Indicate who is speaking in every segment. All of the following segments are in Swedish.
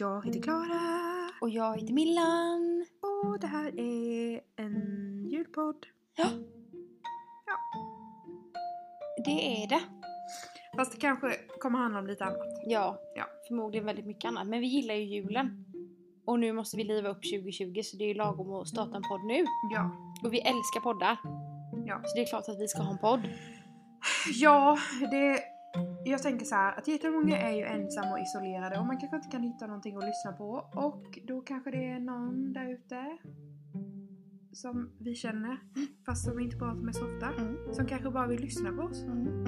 Speaker 1: Jag heter Klara
Speaker 2: Och jag heter Millan.
Speaker 1: och det här är en julpodd.
Speaker 2: Ja. Det är det.
Speaker 1: Fast det kanske kommer handla om lite annat.
Speaker 2: Ja.
Speaker 1: Ja.
Speaker 2: Förmodligen väldigt mycket annat. Men vi gillar ju julen. Och nu måste vi liva upp 2020 så det är ju lagom att starta en podd nu.
Speaker 1: Ja.
Speaker 2: Och vi älskar poddar.
Speaker 1: Ja.
Speaker 2: Så det är klart att vi ska ha en podd.
Speaker 1: Ja, det... Jag tänker så här att jättemånga är ju ensamma och isolerade och man kanske inte kan hitta någonting att lyssna på och då kanske det är någon där ute som vi känner fast som vi inte pratar med så ofta
Speaker 2: Mm.
Speaker 1: som kanske bara vill lyssna på oss.
Speaker 2: Mm.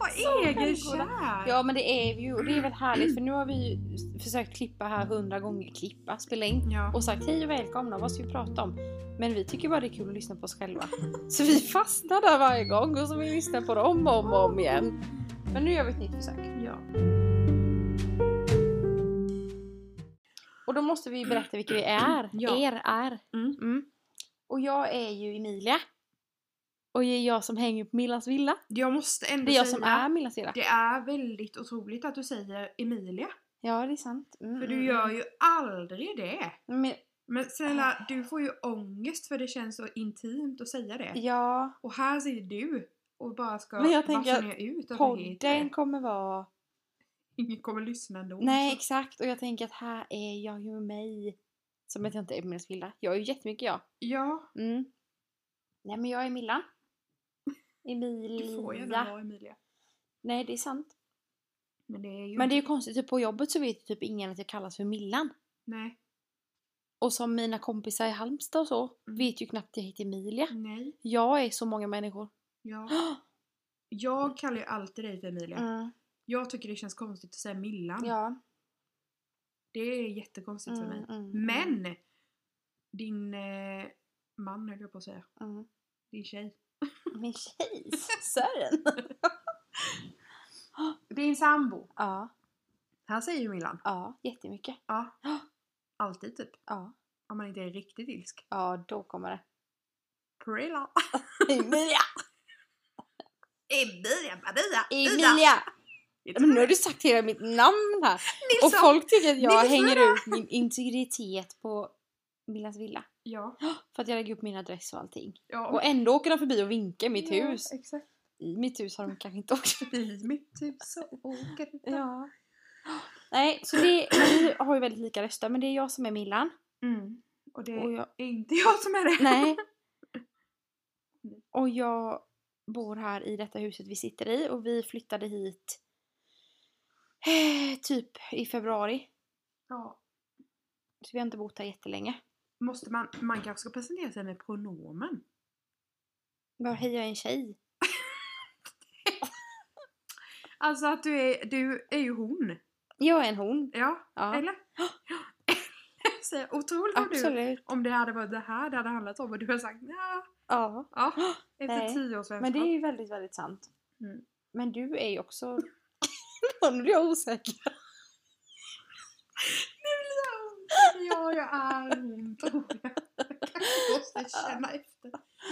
Speaker 1: Vad
Speaker 2: självgoda.
Speaker 1: egenkär!
Speaker 2: Ja men det är vi ju och det är väl härligt för nu har vi ju försökt klippa här hundra gånger. Klippa, spela in.
Speaker 1: Ja.
Speaker 2: och sagt hej och välkomna, vad ska vi prata om? Men vi tycker bara det är kul att lyssna på oss själva. Så vi fastnar där varje gång och så vi lyssnar på dem om och om igen. Men nu gör vi ett nytt försök.
Speaker 1: ja.
Speaker 2: Och då måste vi berätta vilka vi är.
Speaker 1: Ja.
Speaker 2: Er är.
Speaker 1: Mm.
Speaker 2: Mm. Och jag är ju Emilia. Och det är jag som hänger på Millas villa.
Speaker 1: Jag måste ändå
Speaker 2: Det är jag
Speaker 1: säga
Speaker 2: som är Millas villa.
Speaker 1: det är väldigt otroligt att du säger Emilia.
Speaker 2: Ja, det är sant. Mm,
Speaker 1: För du
Speaker 2: mm,
Speaker 1: gör
Speaker 2: mm.
Speaker 1: ju aldrig det.
Speaker 2: Men,
Speaker 1: Men snälla, du får ju ångest för det känns så intimt att säga det.
Speaker 2: ja,
Speaker 1: Och här sitter du och bara ska
Speaker 2: Men jag tänker
Speaker 1: basunera ut att du
Speaker 2: podden
Speaker 1: heter.
Speaker 2: kommer vara...
Speaker 1: Ingen kommer lyssna ändå.
Speaker 2: Nej, exakt. Och jag tänker att här är jag ju mig. Som att jag inte är på Millas villa. Jag är ju jättemycket jag.
Speaker 1: Ja,
Speaker 2: Mm. Nej men jag är Milla.
Speaker 1: du får ju
Speaker 2: Emilia.
Speaker 1: gärna vara Emilia.
Speaker 2: Nej det är sant.
Speaker 1: Men det är ju...
Speaker 2: Men det är ju konstigt, typ på jobbet så vet ju typ ingen att jag kallas för Millan.
Speaker 1: Nej,
Speaker 2: Och som mina kompisar i Halmstad och så
Speaker 1: Mm.
Speaker 2: vet ju knappt jag heter Emilia.
Speaker 1: nej,
Speaker 2: Jag är så många människor.
Speaker 1: ja. Jag kallar ju alltid dig för Emilia.
Speaker 2: Mm.
Speaker 1: Jag tycker det känns konstigt att säga Millan.
Speaker 2: Ja.
Speaker 1: Det är jättekonstigt för mig.
Speaker 2: Mm, mm, mm,
Speaker 1: Men! Din eh, man höll jag på att säga.
Speaker 2: Mm.
Speaker 1: Din tjej.
Speaker 2: Min tjej, Sören.
Speaker 1: Din sambo.
Speaker 2: ja,
Speaker 1: Han säger ju Millan.
Speaker 2: ja, jättemycket.
Speaker 1: Ja.
Speaker 2: Ja.
Speaker 1: Alltid typ.
Speaker 2: Ja,
Speaker 1: Om man inte är riktigt ilsk.
Speaker 2: ja då kommer det.
Speaker 1: Prilla.
Speaker 2: Emilia!
Speaker 1: Emilia Maria.
Speaker 2: Emilia! Men nu har du sagt hela mitt namn här. Och
Speaker 1: Nilsson.
Speaker 2: folk tycker att jag
Speaker 1: Nilsson!
Speaker 2: hänger ut min integritet på Millas villa.
Speaker 1: Ja.
Speaker 2: För att jag lägger upp min adress och allting.
Speaker 1: ja.
Speaker 2: Och ändå åker de förbi och vinkar i mitt hus.
Speaker 1: Ja, exakt.
Speaker 2: I mitt hus har de kanske inte åkt förbi.
Speaker 1: I mitt hus så åker det.
Speaker 2: Ja. Nej, så det, vi har ju väldigt lika röster men det är jag som är Millan.
Speaker 1: Mm. Och det
Speaker 2: Och
Speaker 1: är
Speaker 2: jag,
Speaker 1: inte jag som är det.
Speaker 2: nej. Och jag bor här i detta huset vi sitter i och vi flyttade hit eh, typ i februari.
Speaker 1: Ja.
Speaker 2: Så vi har inte bott här jättelänge.
Speaker 1: Måste man, man kanske ska presentera sig med pronomen.
Speaker 2: Bara hej jag är en tjej.
Speaker 1: Alltså att du är, du är ju hon.
Speaker 2: Jag är en hon.
Speaker 1: Ja,
Speaker 2: Ja,
Speaker 1: eller? Så Otroligt om du,
Speaker 2: absolut.
Speaker 1: om det hade varit det här det hade handlat om och du hade sagt ja.
Speaker 2: Ja.
Speaker 1: ja efter
Speaker 2: Nej.
Speaker 1: tio års
Speaker 2: Men det är
Speaker 1: vänskap.
Speaker 2: ju väldigt, väldigt sant.
Speaker 1: Mm.
Speaker 2: Men du är ju också... Nu blir jag osäker.
Speaker 1: Ja, jag är hon tror jag. Jag kanske måste känna efter.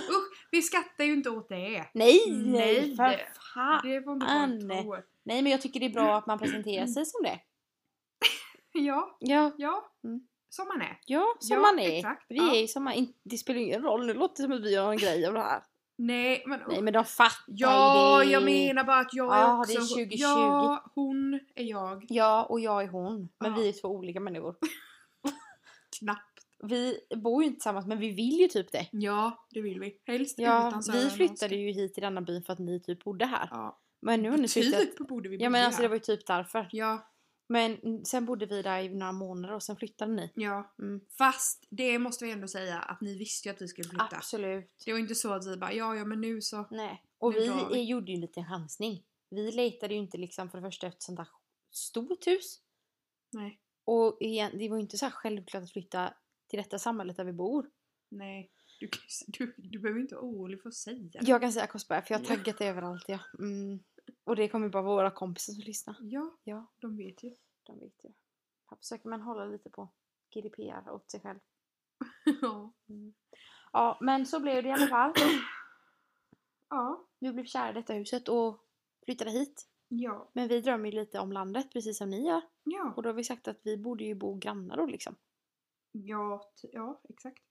Speaker 1: Usch, vi skrattar ju inte åt det.
Speaker 2: Nej!
Speaker 1: Nej.
Speaker 2: För fan!
Speaker 1: Det får inte folk
Speaker 2: Anne.
Speaker 1: tro.
Speaker 2: Nej men jag tycker det är bra att man presenterar sig som det.
Speaker 1: Mm. Ja,
Speaker 2: Ja,
Speaker 1: ja.
Speaker 2: Mm.
Speaker 1: Som man är.
Speaker 2: ja som
Speaker 1: ja,
Speaker 2: man är.
Speaker 1: Exakt.
Speaker 2: Vi
Speaker 1: ja.
Speaker 2: är ju som man inte... Det spelar ju ingen roll, nu låter det som att vi gör en grej av det här.
Speaker 1: Nej, men
Speaker 2: Nej men de fattar ju
Speaker 1: Ja,
Speaker 2: det.
Speaker 1: jag menar bara att jag
Speaker 2: Ja,
Speaker 1: är också...
Speaker 2: det är 2020.
Speaker 1: Ja, hon är jag.
Speaker 2: Ja, och jag är hon. Men
Speaker 1: Ja.
Speaker 2: vi är två olika människor.
Speaker 1: Knappt.
Speaker 2: Vi bor ju inte tillsammans men vi vill ju typ det.
Speaker 1: Ja, det vill vi. Helst
Speaker 2: Ja,
Speaker 1: utan Sören
Speaker 2: vi
Speaker 1: och
Speaker 2: flyttade ju hit till denna by för att ni typ bodde här.
Speaker 1: Ja.
Speaker 2: Men nu har ni flyttat.
Speaker 1: Typ borde vi
Speaker 2: Ja men
Speaker 1: börja.
Speaker 2: alltså det var ju typ därför.
Speaker 1: Ja,
Speaker 2: Men mm, sen bodde vi där i några månader och sen flyttade ni.
Speaker 1: ja.
Speaker 2: Mm.
Speaker 1: Fast det måste vi ändå säga att ni visste ju att vi skulle flytta.
Speaker 2: Absolut.
Speaker 1: Det var inte så att vi bara ja, ja men nu så.
Speaker 2: Nej. Och
Speaker 1: Nu
Speaker 2: vi
Speaker 1: drar vi.
Speaker 2: eh, gjorde ju en liten chansning. Vi letade ju inte liksom för det första efter sånt där stort hus.
Speaker 1: Nej,
Speaker 2: Och igen, det var ju inte så här självklart att flytta till detta samhället där vi bor.
Speaker 1: nej. Du, kan ju s- du, du behöver inte vara orolig för att säga det.
Speaker 2: Jag kan säga Korsberg för jag har taggat det överallt ja. Mm. Och det kommer bara våra kompisar som lyssnar.
Speaker 1: Ja,
Speaker 2: Ja,
Speaker 1: de vet ju.
Speaker 2: de vet ju. Här försöker man hålla lite på GDPR åt sig själv.
Speaker 1: ja.
Speaker 2: Ja, men så blev det i alla fall.
Speaker 1: ja,
Speaker 2: Du blev kär i detta huset och flyttade hit.
Speaker 1: Ja.
Speaker 2: Men vi drömmer ju lite om landet precis som ni gör.
Speaker 1: Ja.
Speaker 2: Och då har vi sagt att vi borde ju bo grannar då liksom.
Speaker 1: Ja, t- ja exakt.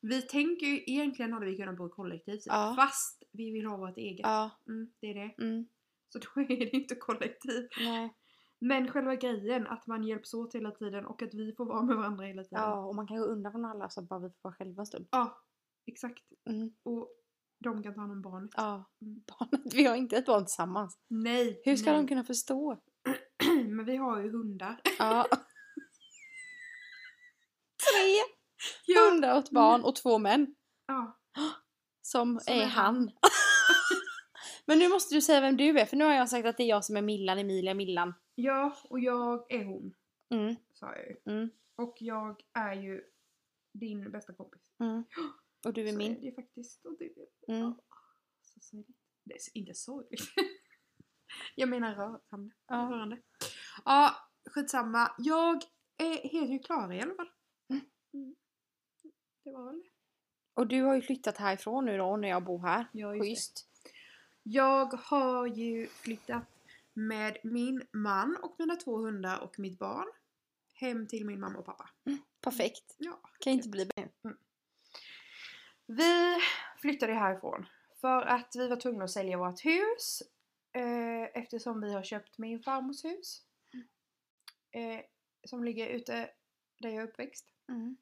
Speaker 1: Vi tänker ju egentligen hade vi kunnat bo kollektivt
Speaker 2: Ja.
Speaker 1: fast vi vill ha vårt eget.
Speaker 2: Ja.
Speaker 1: Mm, det är det.
Speaker 2: Mm.
Speaker 1: Så då är det inte kollektiv.
Speaker 2: Nej.
Speaker 1: Men själva grejen att man hjälps åt hela tiden och att vi får vara med varandra hela tiden.
Speaker 2: Ja, och man kan gå undan från alla så bara vi får vara själva en stund.
Speaker 1: Ja, exakt.
Speaker 2: Mm.
Speaker 1: Och de kan ta hand om barnet.
Speaker 2: Ja.
Speaker 1: Mm.
Speaker 2: Barnet, vi har inte ett barn tillsammans.
Speaker 1: Nej!
Speaker 2: Hur ska
Speaker 1: nej.
Speaker 2: de kunna förstå?
Speaker 1: Men vi har ju hundar.
Speaker 2: Ja. Tre
Speaker 1: Ja.
Speaker 2: hundar åt barn och två män.
Speaker 1: ja.
Speaker 2: Som,
Speaker 1: Som
Speaker 2: är
Speaker 1: är
Speaker 2: han. Men nu måste du säga vem du är för nu har jag sagt att det är jag som är Millan, Emilia, Millan.
Speaker 1: Ja, och jag är hon.
Speaker 2: Mm.
Speaker 1: Sa jag ju.
Speaker 2: Mm.
Speaker 1: Och jag är ju din bästa kompis.
Speaker 2: Mm. Och du är
Speaker 1: Så
Speaker 2: min.
Speaker 1: Det är faktiskt. Och du
Speaker 2: Mm.
Speaker 1: Så sorgligt. Det är s- inte sorgligt. Jag menar rörande.
Speaker 2: Ja.
Speaker 1: rörande. Ja, skitsamma. Jag är, heter ju Klara i alla fall. Mm. Det var väl det.
Speaker 2: Och du har ju flyttat härifrån nu då när jag bor här.
Speaker 1: Ja,
Speaker 2: Schysst.
Speaker 1: Jag har ju flyttat med min man och mina två hundar och mitt barn hem till min mamma och pappa.
Speaker 2: Perfekt.
Speaker 1: Ja,
Speaker 2: Kan inte bli bättre.
Speaker 1: Vi flyttade härifrån för att vi var tvungna att sälja vårt hus eh, eftersom vi har köpt min farmors hus eh, som ligger ute där jag är uppväxt
Speaker 2: Mm.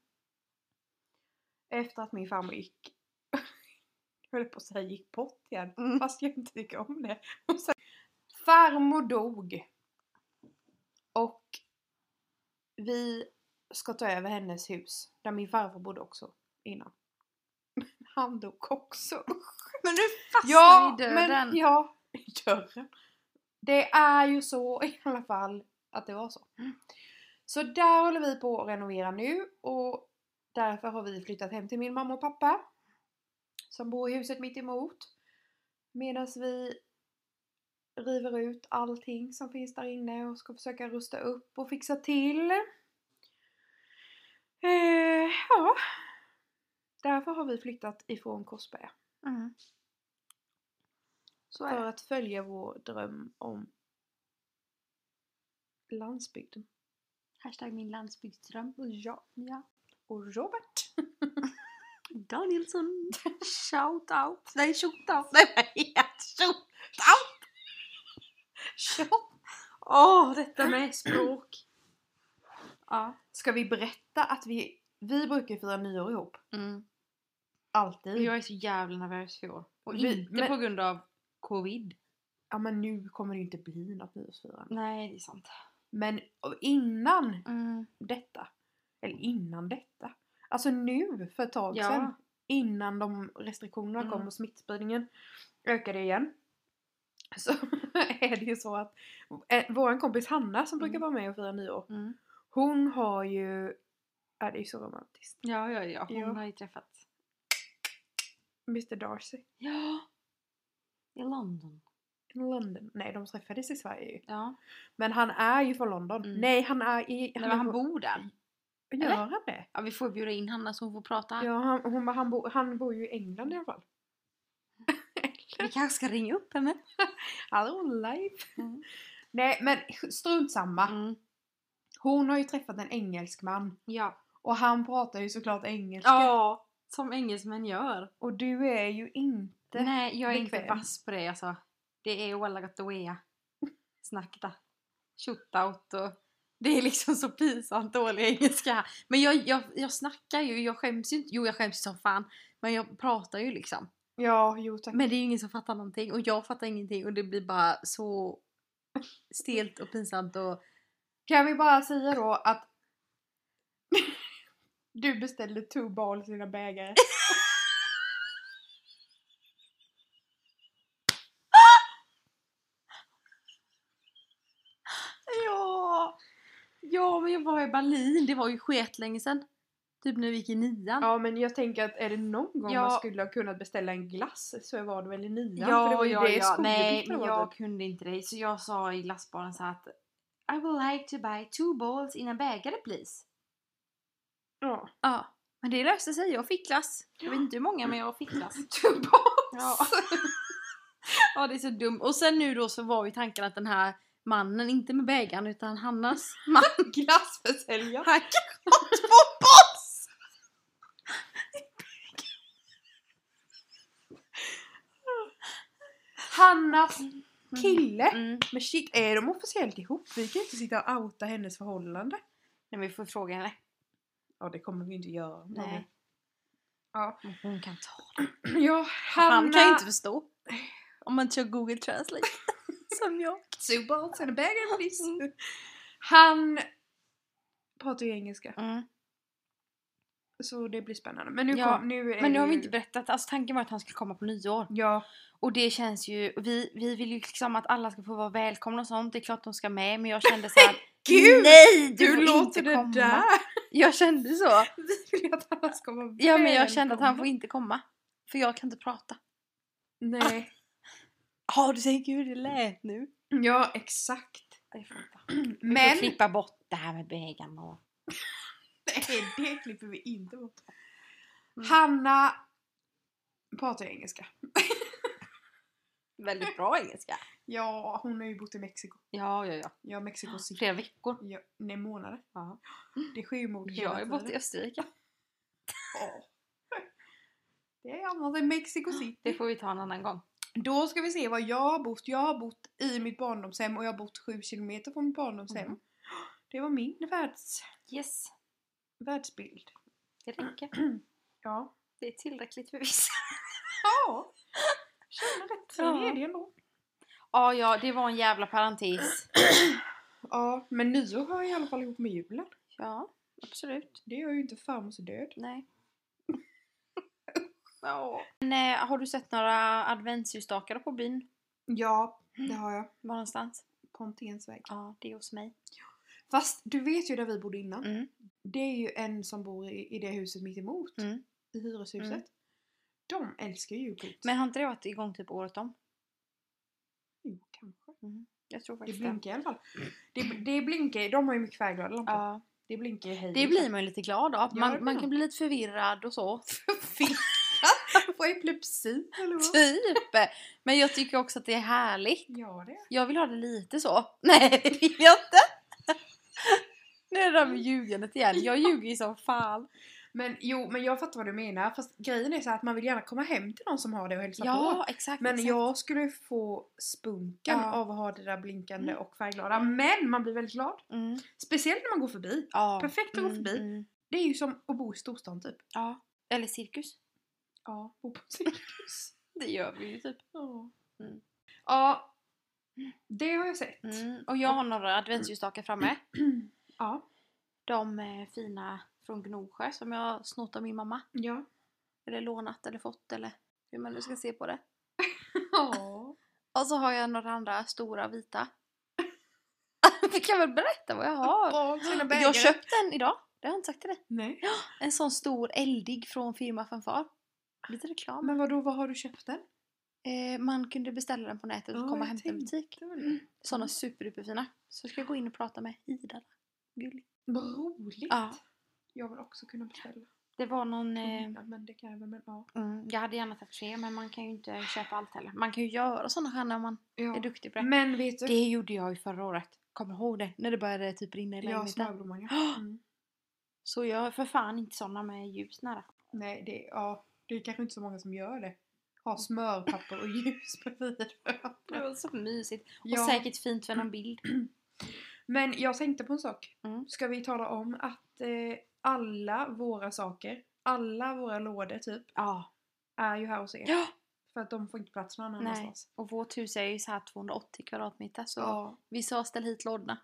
Speaker 1: efter att min farmor gick jag höll på att säga gick bort igen
Speaker 2: Mm.
Speaker 1: fast jag inte tycker om det. Och sen, farmor dog och vi ska ta över hennes hus där min farfar bodde också innan. Han dog också.
Speaker 2: Men nu fastnar
Speaker 1: Ja,
Speaker 2: vi i döden.
Speaker 1: men ja, i dörren. Det är ju så i alla fall att det var så. Så där håller vi på att renovera nu och därför har vi flyttat hem till min mamma och pappa som bor i huset mitt emot. Medan vi river ut allting som finns där inne och ska försöka rusta upp och fixa till. Eh, ja. Därför har vi flyttat ifrån Korsberga.
Speaker 2: Mm. Så är
Speaker 1: För
Speaker 2: det.
Speaker 1: att följa vår dröm om landsbygden.
Speaker 2: Hashtag min landsbygdsdröm.
Speaker 1: Ja.
Speaker 2: Ja.
Speaker 1: Och Robert.
Speaker 2: Danielsson. Shout out. Nej, shoot out. Nej, vad heter det? Shoot out.
Speaker 1: Åh, detta med språk.
Speaker 2: Ja.
Speaker 1: Ska vi berätta att vi, vi brukar fira nyår ihop?
Speaker 2: Mm.
Speaker 1: Alltid.
Speaker 2: Jag är så jävla nervös för år. Och
Speaker 1: Vi-
Speaker 2: inte
Speaker 1: men-
Speaker 2: på grund av covid.
Speaker 1: Ja men nu kommer det ju inte bli något nyårsfirande.
Speaker 2: Nej, det är sant.
Speaker 1: Men innan
Speaker 2: Mm.
Speaker 1: detta. Eller innan detta. Alltså nu för ett tag
Speaker 2: Ja.
Speaker 1: sedan. Innan de restriktionerna kom
Speaker 2: Mm.
Speaker 1: och smittspridningen ökade igen. Så är det ju så att eh, våran kompis Hanna som brukar
Speaker 2: Mm.
Speaker 1: vara med och fira nyår. Hon har ju... Ja det är ju så romantiskt.
Speaker 2: Ja, ja, ja. Hon
Speaker 1: Ja.
Speaker 2: har ju träffat.
Speaker 1: Mr Darcy.
Speaker 2: Ja. I London.
Speaker 1: i London. Nej de träffades i Sverige ju.
Speaker 2: Ja.
Speaker 1: Men han är ju från London.
Speaker 2: Mm.
Speaker 1: Nej han är i...
Speaker 2: Nej, men han bor där.
Speaker 1: Gör
Speaker 2: eller?
Speaker 1: han det?
Speaker 2: Ja, vi får bjuda in Hanna så hon får prata.
Speaker 1: Ja han, hon, han, bor, han bor ju i England i alla fall.
Speaker 2: Vi kanske ska ringa upp henne.
Speaker 1: Hallå live!
Speaker 2: Mm.
Speaker 1: Nej men strunt samma.
Speaker 2: Mm.
Speaker 1: Hon har ju träffat en engelsk man.
Speaker 2: Ja.
Speaker 1: Och han pratar ju såklart engelska.
Speaker 2: Ja, som engelsmän gör.
Speaker 1: Och du är ju inte...
Speaker 2: Nej, jag är inte
Speaker 1: bekväm.
Speaker 2: vass på det alltså. Det är walla gott och wea. Snackta. Shootout och... Det är liksom så pinsamt dålig engelska. Men jag, jag, jag snackar ju, jag skäms ju inte. Jo, jag skäms ju som fan. Men jag pratar ju liksom.
Speaker 1: Ja, jo tack.
Speaker 2: Men det är ju ingen som fattar någonting och jag fattar ingenting och det blir bara så stelt och pinsamt och...
Speaker 1: Kan vi bara säga då att du beställde two balls i dina bägare.
Speaker 2: Ja! Ja, men jag var i Berlin. Det var ju sket länge sedan. Typ när vi gick i nian.
Speaker 1: Ja men jag tänker att är det någon gång
Speaker 2: Ja.
Speaker 1: man skulle ha kunnat beställa en glass så var det väl i nian?
Speaker 2: Ja,
Speaker 1: för det var ju
Speaker 2: ja,
Speaker 1: det
Speaker 2: ja. Nej,
Speaker 1: skolbiblioteket
Speaker 2: men
Speaker 1: var
Speaker 2: jag
Speaker 1: typ.
Speaker 2: kunde inte det. Så jag sa i glassbaren så här att I would like to buy two balls in a bägare please.
Speaker 1: Ja.
Speaker 2: Ja, men det löste sig. Jag fick glass. Jag vet inte hur många, men jag fick glass.
Speaker 1: Two balls!
Speaker 2: Ja. Ja, det är så dumt. Och sen nu då så var ju tanken att den här mannen, inte med bägaren utan Hannas man,
Speaker 1: Glassförsäljare.
Speaker 2: han kanske har två boss!
Speaker 1: Hannas kille.
Speaker 2: Mm.
Speaker 1: Men shit, är de officiellt ihop? Vi kan ju inte sitta och outa hennes förhållande.
Speaker 2: Nej, men vi får fråga henne.
Speaker 1: Ja, det kommer vi inte göra.
Speaker 2: Nej.
Speaker 1: Ja.
Speaker 2: Om Hon kan ta det.
Speaker 1: ja, Hanna...
Speaker 2: Han kan ju inte förstå. Om man kör Google Translate. Som jag.
Speaker 1: Two balls and a bag of this. Han pratar ju engelska.
Speaker 2: Mm.
Speaker 1: Så det blir spännande. Men nu,
Speaker 2: Ja,
Speaker 1: kom, nu är
Speaker 2: Men nu har vi
Speaker 1: ju-
Speaker 2: inte berättat. Alltså tanken var att han skulle komma på nyår.
Speaker 1: Ja,
Speaker 2: Och det känns ju, vi, vi vill ju liksom att alla ska få vara välkomna och sånt. Det är klart de ska med men jag kände så här.
Speaker 1: Gud,
Speaker 2: Nej!
Speaker 1: du
Speaker 2: får
Speaker 1: låter det där.
Speaker 2: Jag kände så.
Speaker 1: Vi vill ju att alla ska vara
Speaker 2: Ja men jag kände att han
Speaker 1: välkomna.
Speaker 2: får inte komma. För jag kan inte prata.
Speaker 1: Nej.
Speaker 2: Ja du säger gud det lät nu.
Speaker 1: Ja, exakt.
Speaker 2: Jag får inte. Vi
Speaker 1: Men...
Speaker 2: får klippa bort det här med bägaren och...
Speaker 1: Nej, det klipper vi inte bort.
Speaker 2: Mm.
Speaker 1: Hanna pratar ju engelska.
Speaker 2: Väldigt bra engelska.
Speaker 1: Ja, hon har ju bott i Mexiko.
Speaker 2: Ja ja ja.
Speaker 1: Ja, Mexiko City.
Speaker 2: Flera veckor.
Speaker 1: Ja, nej, månader.
Speaker 2: Ja.
Speaker 1: Det sker ju mord hela
Speaker 2: Jag är borta i
Speaker 1: tiden.
Speaker 2: Österrike.
Speaker 1: Ja. Det är annat än Mexico City.
Speaker 2: Det får vi ta en annan gång.
Speaker 1: Då ska vi se var jag har bott. Jag har bott i mitt barndomshem och jag har bott 7 kilometer från mitt barndomshem.
Speaker 2: Mm.
Speaker 1: Det var min världs,
Speaker 2: Yes.
Speaker 1: världsbild.
Speaker 2: Det räcker.
Speaker 1: Ja.
Speaker 2: Det är tillräckligt för vissa.
Speaker 1: Ja. Känner rätt
Speaker 2: Ja.
Speaker 1: ledig ändå.
Speaker 2: Ja ja det var en jävla parentes.
Speaker 1: Ja, men nyår hör i alla fall ihop med julen.
Speaker 2: Ja absolut.
Speaker 1: Det gör ju inte farmors död.
Speaker 2: Nej. Men eh, har du sett några adventsljusstakar på byn?
Speaker 1: Ja, det har jag.
Speaker 2: Var någonstans?
Speaker 1: Pontens väg.
Speaker 2: Ja, det är hos mig.
Speaker 1: Fast du vet ju där vi bodde innan.
Speaker 2: Mm.
Speaker 1: Det är ju en som bor i, i det huset mitt emot.
Speaker 2: Mm.
Speaker 1: I hyreshuset.
Speaker 2: Mm.
Speaker 1: De älskar ju julkort.
Speaker 2: Men har inte det varit igång typ året om?
Speaker 1: Jo, kanske.
Speaker 2: Jag tror
Speaker 1: Det
Speaker 2: faktiskt det.
Speaker 1: blinkar i alla fall. Det, det blinkar, de har ju mycket färgglada lampor.
Speaker 2: Ja.
Speaker 1: Det blinkar ju hej.
Speaker 2: Det blir man ju lite glad av.
Speaker 1: det
Speaker 2: Man,
Speaker 1: blir
Speaker 2: man
Speaker 1: man.
Speaker 2: kan bli lite förvirrad och så.
Speaker 1: Får epilepsi eller vad?
Speaker 2: typ! Men jag tycker också att det är härligt.
Speaker 1: Ja det.
Speaker 2: Jag vill ha det lite så. Nej, det vill jag inte! Nu är det där med ljugandet igen. Jag ljuger ju som fan.
Speaker 1: Men jo, men jag fattar vad du menar. Fast grejen är så här att man vill gärna komma hem till någon som har det och hälsa på.
Speaker 2: Ja, exakt.
Speaker 1: Men
Speaker 2: exakt.
Speaker 1: jag skulle få spunken
Speaker 2: Ja.
Speaker 1: av att ha det där blinkande
Speaker 2: Mm.
Speaker 1: och färgglada. Men man blir väldigt glad.
Speaker 2: Mm.
Speaker 1: Speciellt när man går förbi.
Speaker 2: Ja.
Speaker 1: Perfekt att gå förbi.
Speaker 2: mm.
Speaker 1: Det är ju som att bo i storstan typ.
Speaker 2: Ja. Eller cirkus.
Speaker 1: Ja, bo på cirkus.
Speaker 2: Det gör vi ju typ.
Speaker 1: ja.
Speaker 2: Mm.
Speaker 1: ja, det har jag sett.
Speaker 2: Mm. Och jag har några adventsljusstakar framme.
Speaker 1: Mm. Ja.
Speaker 2: De är fina från Gnosjö som jag har snott av min mamma.
Speaker 1: Ja.
Speaker 2: Eller lånat eller fått eller hur man nu ska se på det.
Speaker 1: ja.
Speaker 2: Och så har jag några andra stora vita. Vi kan väl berätta vad jag har.
Speaker 1: Bra, sina bägare.
Speaker 2: Jag köpte en idag. Det har jag inte sagt till dig.
Speaker 1: Nej.
Speaker 2: En sån stor eldig från firma Fanfar. Lite reklam.
Speaker 1: Men vadå, vad har du köpt den?
Speaker 2: Eh, man kunde beställa den på nätet och
Speaker 1: Ja,
Speaker 2: komma och
Speaker 1: jag
Speaker 2: hämta en
Speaker 1: tänkte
Speaker 2: butik. Mm. Såna superduperfina. Så ska jag gå in och prata med Ida. Gulligt.
Speaker 1: Vad roligt!
Speaker 2: Ja.
Speaker 1: Jag vill också kunna beställa.
Speaker 2: Det var någon... Eh,
Speaker 1: Ja, men det kan jag väl, men ja.
Speaker 2: Mm, jag hade gärna tagit tre men man kan ju inte köpa allt heller. Man kan ju göra sådana stjärnor om man är
Speaker 1: ja.
Speaker 2: duktig på det.
Speaker 1: Men vet du?
Speaker 2: Det gjorde jag ju förra året. Kommer ihåg det? När det började typ rinna i
Speaker 1: ja,
Speaker 2: lägenheten.
Speaker 1: smörblomman ja.
Speaker 2: Ja.
Speaker 1: Mm.
Speaker 2: Så jag är för fan inte sådana med ljus nära.
Speaker 1: Nej, det, ja. det är kanske inte så många som gör det. Har smörpapper och ljus bredvid
Speaker 2: Det
Speaker 1: varandra.
Speaker 2: var så mysigt. Och
Speaker 1: Ja.
Speaker 2: säkert fint för någon bild.
Speaker 1: Men jag tänkte på en sak.
Speaker 2: Mm.
Speaker 1: Ska vi tala om att eh, alla våra saker, alla våra lådor typ,
Speaker 2: Ja.
Speaker 1: är ju här hos er.
Speaker 2: ja.
Speaker 1: För att de får inte plats någon
Speaker 2: Nej.
Speaker 1: annanstans.
Speaker 2: Och vårt hus är ju så här 280 kvadratmeter så
Speaker 1: Ja.
Speaker 2: vi sa ställ hit lådorna.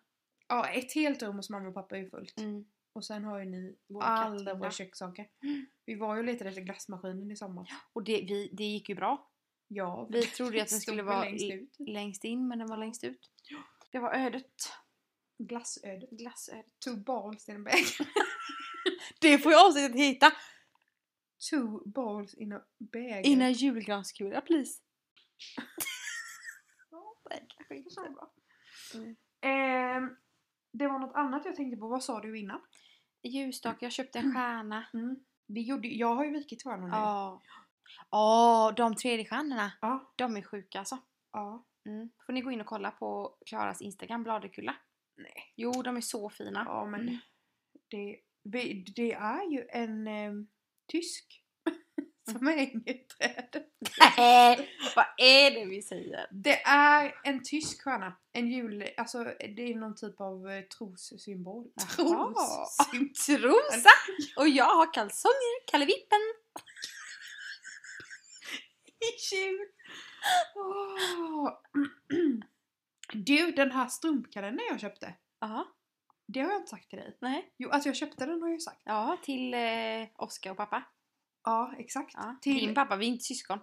Speaker 1: ja, ett helt rum hos mamma och pappa är ju fullt.
Speaker 2: Mm.
Speaker 1: Och sen har ju ni
Speaker 2: Vår
Speaker 1: alla
Speaker 2: kattvinda.
Speaker 1: våra kökssaker.
Speaker 2: Mm.
Speaker 1: Vi var ju och letade efter glassmaskinen i sommar.
Speaker 2: Och det, vi, det gick ju bra.
Speaker 1: Ja,
Speaker 2: Vi trodde ju att den
Speaker 1: stod
Speaker 2: skulle
Speaker 1: väl
Speaker 2: vara
Speaker 1: längst
Speaker 2: i-
Speaker 1: ut.
Speaker 2: längst in men den var längst ut. Det var ödet.
Speaker 1: Glassödet.
Speaker 2: Glassödet.
Speaker 1: Two balls in a bag.
Speaker 2: Det får jag avsnittet hitta!
Speaker 1: Two balls in a bag.
Speaker 2: Innan julgranskula please.
Speaker 1: Så bra.
Speaker 2: Mm.
Speaker 1: Ehm, det var något annat jag tänkte på. Vad sa du innan?
Speaker 2: Ljusstake, jag köpte en stjärna.
Speaker 1: Vi gjorde, jag har ju vikit stjärnor nu.
Speaker 2: Ja. Åh, de 3D-stjärnorna.
Speaker 1: Ja.
Speaker 2: De är sjuka alltså.
Speaker 1: Ja.
Speaker 2: Mm. Får ni gå in och kolla på Klaras Instagram, Bladekulla.
Speaker 1: Nej.
Speaker 2: Jo, de är så fina.
Speaker 1: Ja men
Speaker 2: Mm.
Speaker 1: det, vi- det är ju en em, tysk som hänger i trädet.
Speaker 2: Vad är det vi säger?
Speaker 1: Det är en tysk stjärna. En jul... Alltså det är någon typ av eh, trossymbol.
Speaker 2: Jaha.
Speaker 1: Tros?
Speaker 2: Trosa! Och jag har kalsonger, Kalle Vippen.
Speaker 1: I jul! Åh. Du, den här strumpkalendern jag köpte.
Speaker 2: Ja,
Speaker 1: Det har jag inte sagt till dig.
Speaker 2: nej.
Speaker 1: Jo, alltså jag köpte den har jag ju sagt.
Speaker 2: Ja, till eh, Oskar och pappa.
Speaker 1: Ja, exakt.
Speaker 2: Ja, till
Speaker 1: Till-
Speaker 2: din pappa, vi är inte syskon.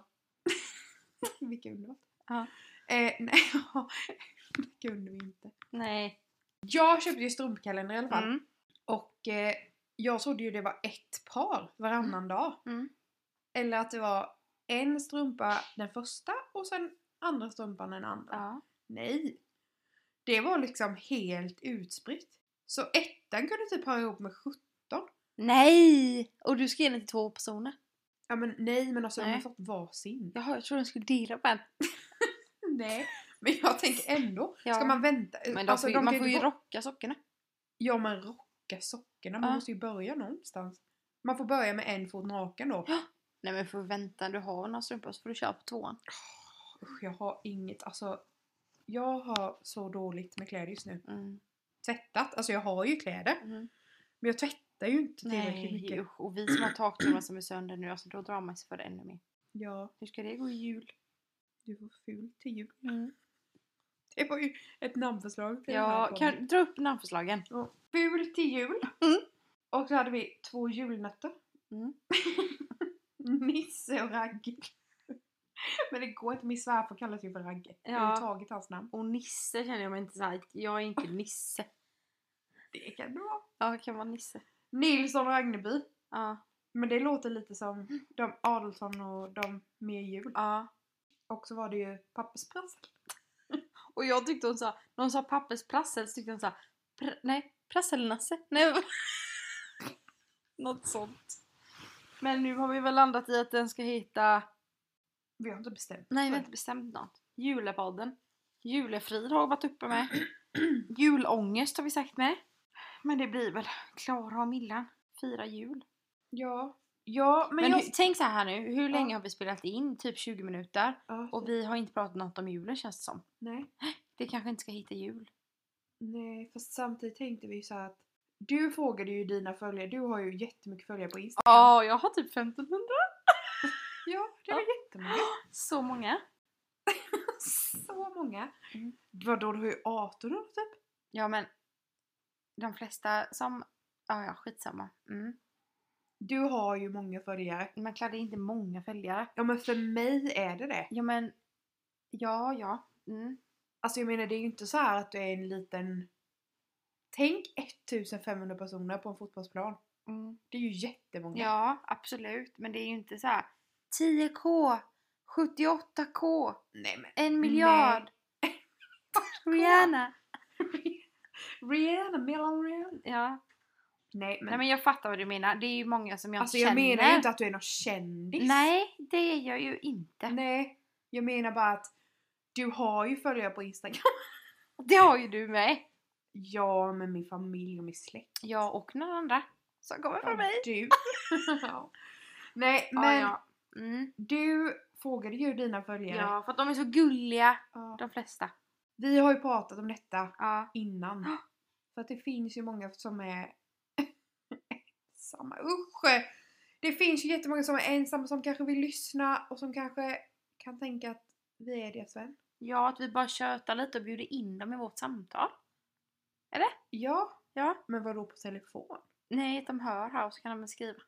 Speaker 1: Vilka underbart.
Speaker 2: Ja.
Speaker 1: Eh, nej, vilka under vi inte.
Speaker 2: Nej.
Speaker 1: Jag köpte ju strumpkalender i alla fall.
Speaker 2: Mm.
Speaker 1: Och eh, jag trodde ju det var ett par varannan dag.
Speaker 2: Mm.
Speaker 1: Eller att det var en strumpa den första och sen andra strumpan den andra.
Speaker 2: Ja.
Speaker 1: Nej! Det var liksom helt utspritt. Så ettan kunde typ ha ihop med 17.
Speaker 2: Nej! Och du ska ge den till två personer.
Speaker 1: Ja men nej men alltså de har
Speaker 2: Nej.
Speaker 1: fått varsin.
Speaker 2: Jaha, jag trodde de skulle dela på en.
Speaker 1: Nej. Men jag tänker ändå,
Speaker 2: Ja.
Speaker 1: ska man vänta?
Speaker 2: Men de
Speaker 1: Alltså,
Speaker 2: får, ju-
Speaker 1: de
Speaker 2: man
Speaker 1: kan
Speaker 2: får ju
Speaker 1: inte
Speaker 2: rocka sockorna.
Speaker 1: Ja men rocka sockorna, man
Speaker 2: Ja.
Speaker 1: måste ju börja någonstans. Man får börja med en fot naken då.
Speaker 2: Nej men får vänta, du har några strumpor så får du köra på tvåan.
Speaker 1: Usch, jag har inget, alltså. Jag har så dåligt med kläder just nu.
Speaker 2: Mm.
Speaker 1: Tvättat, alltså jag har ju kläder.
Speaker 2: Mm.
Speaker 1: Men jag tvättar ju inte tillräckligt
Speaker 2: Nej
Speaker 1: mycket.
Speaker 2: usch, och vi som har takkronan som är sönder nu, alltså då drar man sig för det ännu mer.
Speaker 1: Ja,
Speaker 2: Hur ska det gå i jul?
Speaker 1: du var ful till jul. Det var ju ett namnförslag till den här
Speaker 2: Ja,
Speaker 1: podden.
Speaker 2: kan dra upp namnförslagen.
Speaker 1: Ja. Ful till jul.
Speaker 2: Mm.
Speaker 1: Och så hade vi två julnötter.
Speaker 2: Mm.
Speaker 1: Nisse och Ragge. Men det går inte, min svärfar kallas ju för Ragge. Jag har
Speaker 2: Ja.
Speaker 1: ju tagit hans namn.
Speaker 2: Och Nisse känner jag mig inte såhär, jag är inte Nisse.
Speaker 1: Det kan det vara.
Speaker 2: Ja, jag kan vara Nisse.
Speaker 1: Nilsson och Agneby.
Speaker 2: Ja.
Speaker 1: Men det låter lite
Speaker 2: Mm.
Speaker 1: som de Adolfsson och de med jul.
Speaker 2: ja.
Speaker 1: Och så var det ju pappersprassel.
Speaker 2: Och jag tyckte hon sa, när hon sa pappersprassel så tyckte hon såhär, pr- nej, prasselnasse. Nej. vad- Något sånt. Men nu har vi väl landat i att den ska heta
Speaker 1: Vi har inte bestämt.
Speaker 2: Nej, vi
Speaker 1: Så-
Speaker 2: har inte bestämt något. Julepodden. Julefrid har varit uppe med. Julångest har vi sagt med. Men det blir väl Klara och Millan. Fira jul.
Speaker 1: Ja. Ja, men,
Speaker 2: Men,
Speaker 1: jag...
Speaker 2: hur, tänk så här nu. Hur
Speaker 1: Ja.
Speaker 2: länge har vi spelat in? Typ 20 minuter.
Speaker 1: Ja,
Speaker 2: Och vi har inte pratat något om julen känns det som.
Speaker 1: nej.
Speaker 2: Det kanske inte ska hitta jul.
Speaker 1: Nej, fast samtidigt tänkte vi ju så här att du frågade ju dina följare, du har ju jättemycket följare på Instagram.
Speaker 2: Ja, jag har typ 1500.
Speaker 1: Ja, det var jättemånga.
Speaker 2: Så många.
Speaker 1: Så många.
Speaker 2: Mm.
Speaker 1: Vadå, du har ju 1800 typ?
Speaker 2: Ja, men de flesta som... Ja, ja, skitsamma. Mm.
Speaker 1: Du har ju många följare.
Speaker 2: Men Klara, det är inte många följare.
Speaker 1: Ja men för mig är det det.
Speaker 2: Ja, men... Ja, ja. Mm.
Speaker 1: Alltså jag menar det är ju inte så här att du är en liten... Tänk 1500 personer på en fotbollsplan.
Speaker 2: Mm.
Speaker 1: Det är ju jättemånga.
Speaker 2: Ja, absolut. Men det är ju inte så här 10k, 78k,
Speaker 1: Nej men.
Speaker 2: en miljard. Rihanna.
Speaker 1: Rihanna, Melon Rihanna.
Speaker 2: Ja.
Speaker 1: Nej men.
Speaker 2: Nej men jag fattar vad du menar. Det är ju många som jag
Speaker 1: alltså
Speaker 2: känner.
Speaker 1: jag menar ju inte att du är någon kändis.
Speaker 2: Nej, det är jag ju inte.
Speaker 1: Nej. Jag menar bara att du har ju följare på Instagram.
Speaker 2: Det har ju du med.
Speaker 1: Ja men min familj och min släkt.
Speaker 2: Jag och några andra som kommer från mig.
Speaker 1: Du. ja. Nej men
Speaker 2: Men, ja, ja. Mm.
Speaker 1: du frågade ju dina följare.
Speaker 2: ja, för att de är så gulliga,
Speaker 1: Ja.
Speaker 2: de flesta.
Speaker 1: Vi har ju pratat om detta
Speaker 2: Ja.
Speaker 1: innan. För att det finns ju många som är ensamma. Usch! Det finns ju jättemånga som är ensamma som kanske vill lyssna och som kanske kan tänka att vi är deras vän.
Speaker 2: ja, att vi bara tjötar lite och bjuder in dem i vårt samtal.
Speaker 1: Ja,
Speaker 2: Ja.
Speaker 1: men vadå på telefon?
Speaker 2: Nej, de hör här och så kan de skriva.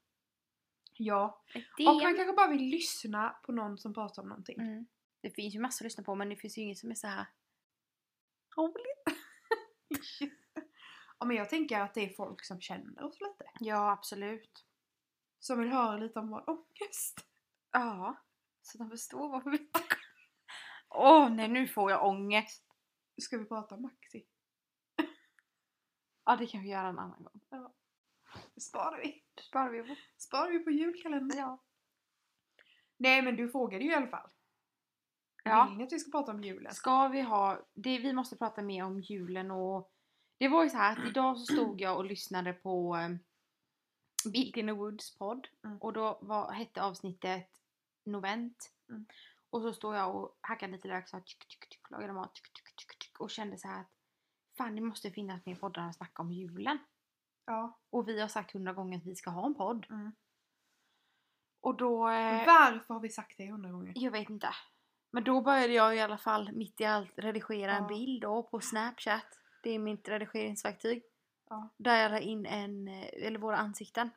Speaker 1: Ja,
Speaker 2: Ett
Speaker 1: och
Speaker 2: DM.
Speaker 1: man kanske bara vill lyssna på någon som pratar om någonting.
Speaker 2: Mm. Det finns ju massor att lyssna på men det finns ju inget som är så här roligt.
Speaker 1: Ja, men jag tänker att det är folk som känner oss lite.
Speaker 2: Ja, absolut.
Speaker 1: Som vill höra lite om vår ångest.
Speaker 2: Ja, så de förstår varför vi Åh nej, nu får jag ångest.
Speaker 1: Ska vi prata om Maxi?
Speaker 2: Ja, det kan vi göra en annan gång.
Speaker 1: Sparar vi?
Speaker 2: Då sparar vi Mm. på.
Speaker 1: Sparar vi på julkalendern?
Speaker 2: Ja.
Speaker 1: Nej men du frågade ju i alla fall.
Speaker 2: Ja.
Speaker 1: Vill ni att vi ska prata om julen?
Speaker 2: Ska vi ha... Det, vi måste prata mer om julen och... Det var ju så här att idag så stod jag och lyssnade på eh, Built in the Woods podd.
Speaker 1: Mm.
Speaker 2: Och då var, hette avsnittet Novent.
Speaker 1: Mm.
Speaker 2: Och så stod jag och hackade lite lök så här, tsk, tsk, tsk, lagade mat tsk, tsk, tsk, tsk, och kände så här att fan det måste finnas mer poddar att snacka om julen.
Speaker 1: Ja.
Speaker 2: Och vi har sagt hundra gånger att vi ska ha en podd.
Speaker 1: Mm.
Speaker 2: Och då... eh,
Speaker 1: Varför har vi sagt det hundra gånger?
Speaker 2: jag vet inte. Men då började jag i alla fall mitt i allt redigera en
Speaker 1: Ja.
Speaker 2: bild då på Snapchat. Det är mitt redigeringsverktyg.
Speaker 1: Ja.
Speaker 2: Där jag la in en, eh, eller våra ansikten.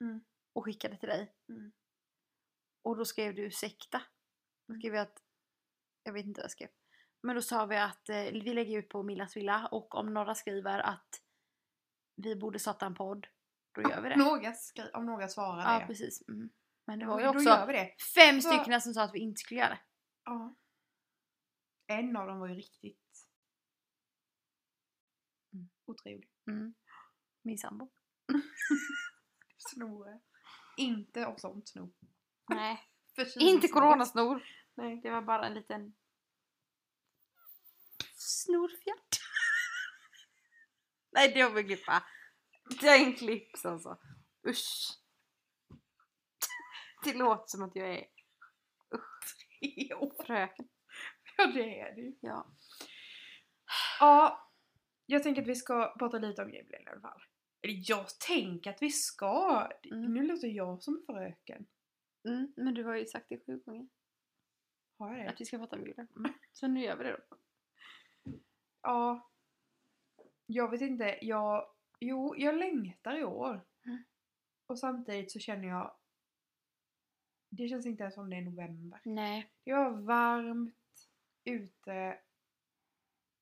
Speaker 1: Mm.
Speaker 2: Och skickade till dig.
Speaker 1: Mm.
Speaker 2: Och då skrev du ursäkta. Då
Speaker 1: Mm.
Speaker 2: skrev jag att, jag vet inte vad jag skrev. Men då sa vi att eh, vi lägger ut på Millas villa och om några skriver att vi borde starta en podd, då gör vi det.
Speaker 1: Några skri- om några svarar
Speaker 2: Ja,
Speaker 1: det.
Speaker 2: precis. Mm. Men det var ju
Speaker 1: Då gör
Speaker 2: också
Speaker 1: vi det.
Speaker 2: fem
Speaker 1: Så-
Speaker 2: stycken som sa att vi inte skulle göra det.
Speaker 1: Ja. En av dem var ju riktigt
Speaker 2: Mm.
Speaker 1: otrevlig.
Speaker 2: Mm. Min sambo.
Speaker 1: Snore. Inte av sånt snor.
Speaker 2: Nej.
Speaker 1: Förkylningssnor.
Speaker 2: Inte coronasnor.
Speaker 1: Nej.
Speaker 2: Det var bara en liten snorfjärt. Nej, det får vi klippa. Den klipps alltså. Usch. Det låter som att jag är
Speaker 1: Jo,
Speaker 2: fröken.
Speaker 1: ja det är det ju.
Speaker 2: Ja.
Speaker 1: Ja, jag tänker att vi ska prata lite om julen i alla fall. Eller jag tänker att vi ska.
Speaker 2: Mm.
Speaker 1: Nu låter jag som fröken.
Speaker 2: Mm, men du har ju sagt det sju gånger.
Speaker 1: Har jag det?
Speaker 2: Att vi ska prata om julen. Mm. Så nu gör vi det då.
Speaker 1: Ja. Jag vet inte, jag... Jo, jag längtar i år.
Speaker 2: Mm.
Speaker 1: Och samtidigt så känner jag... Det känns inte ens som det är november.
Speaker 2: Nej.
Speaker 1: Det var varmt ute.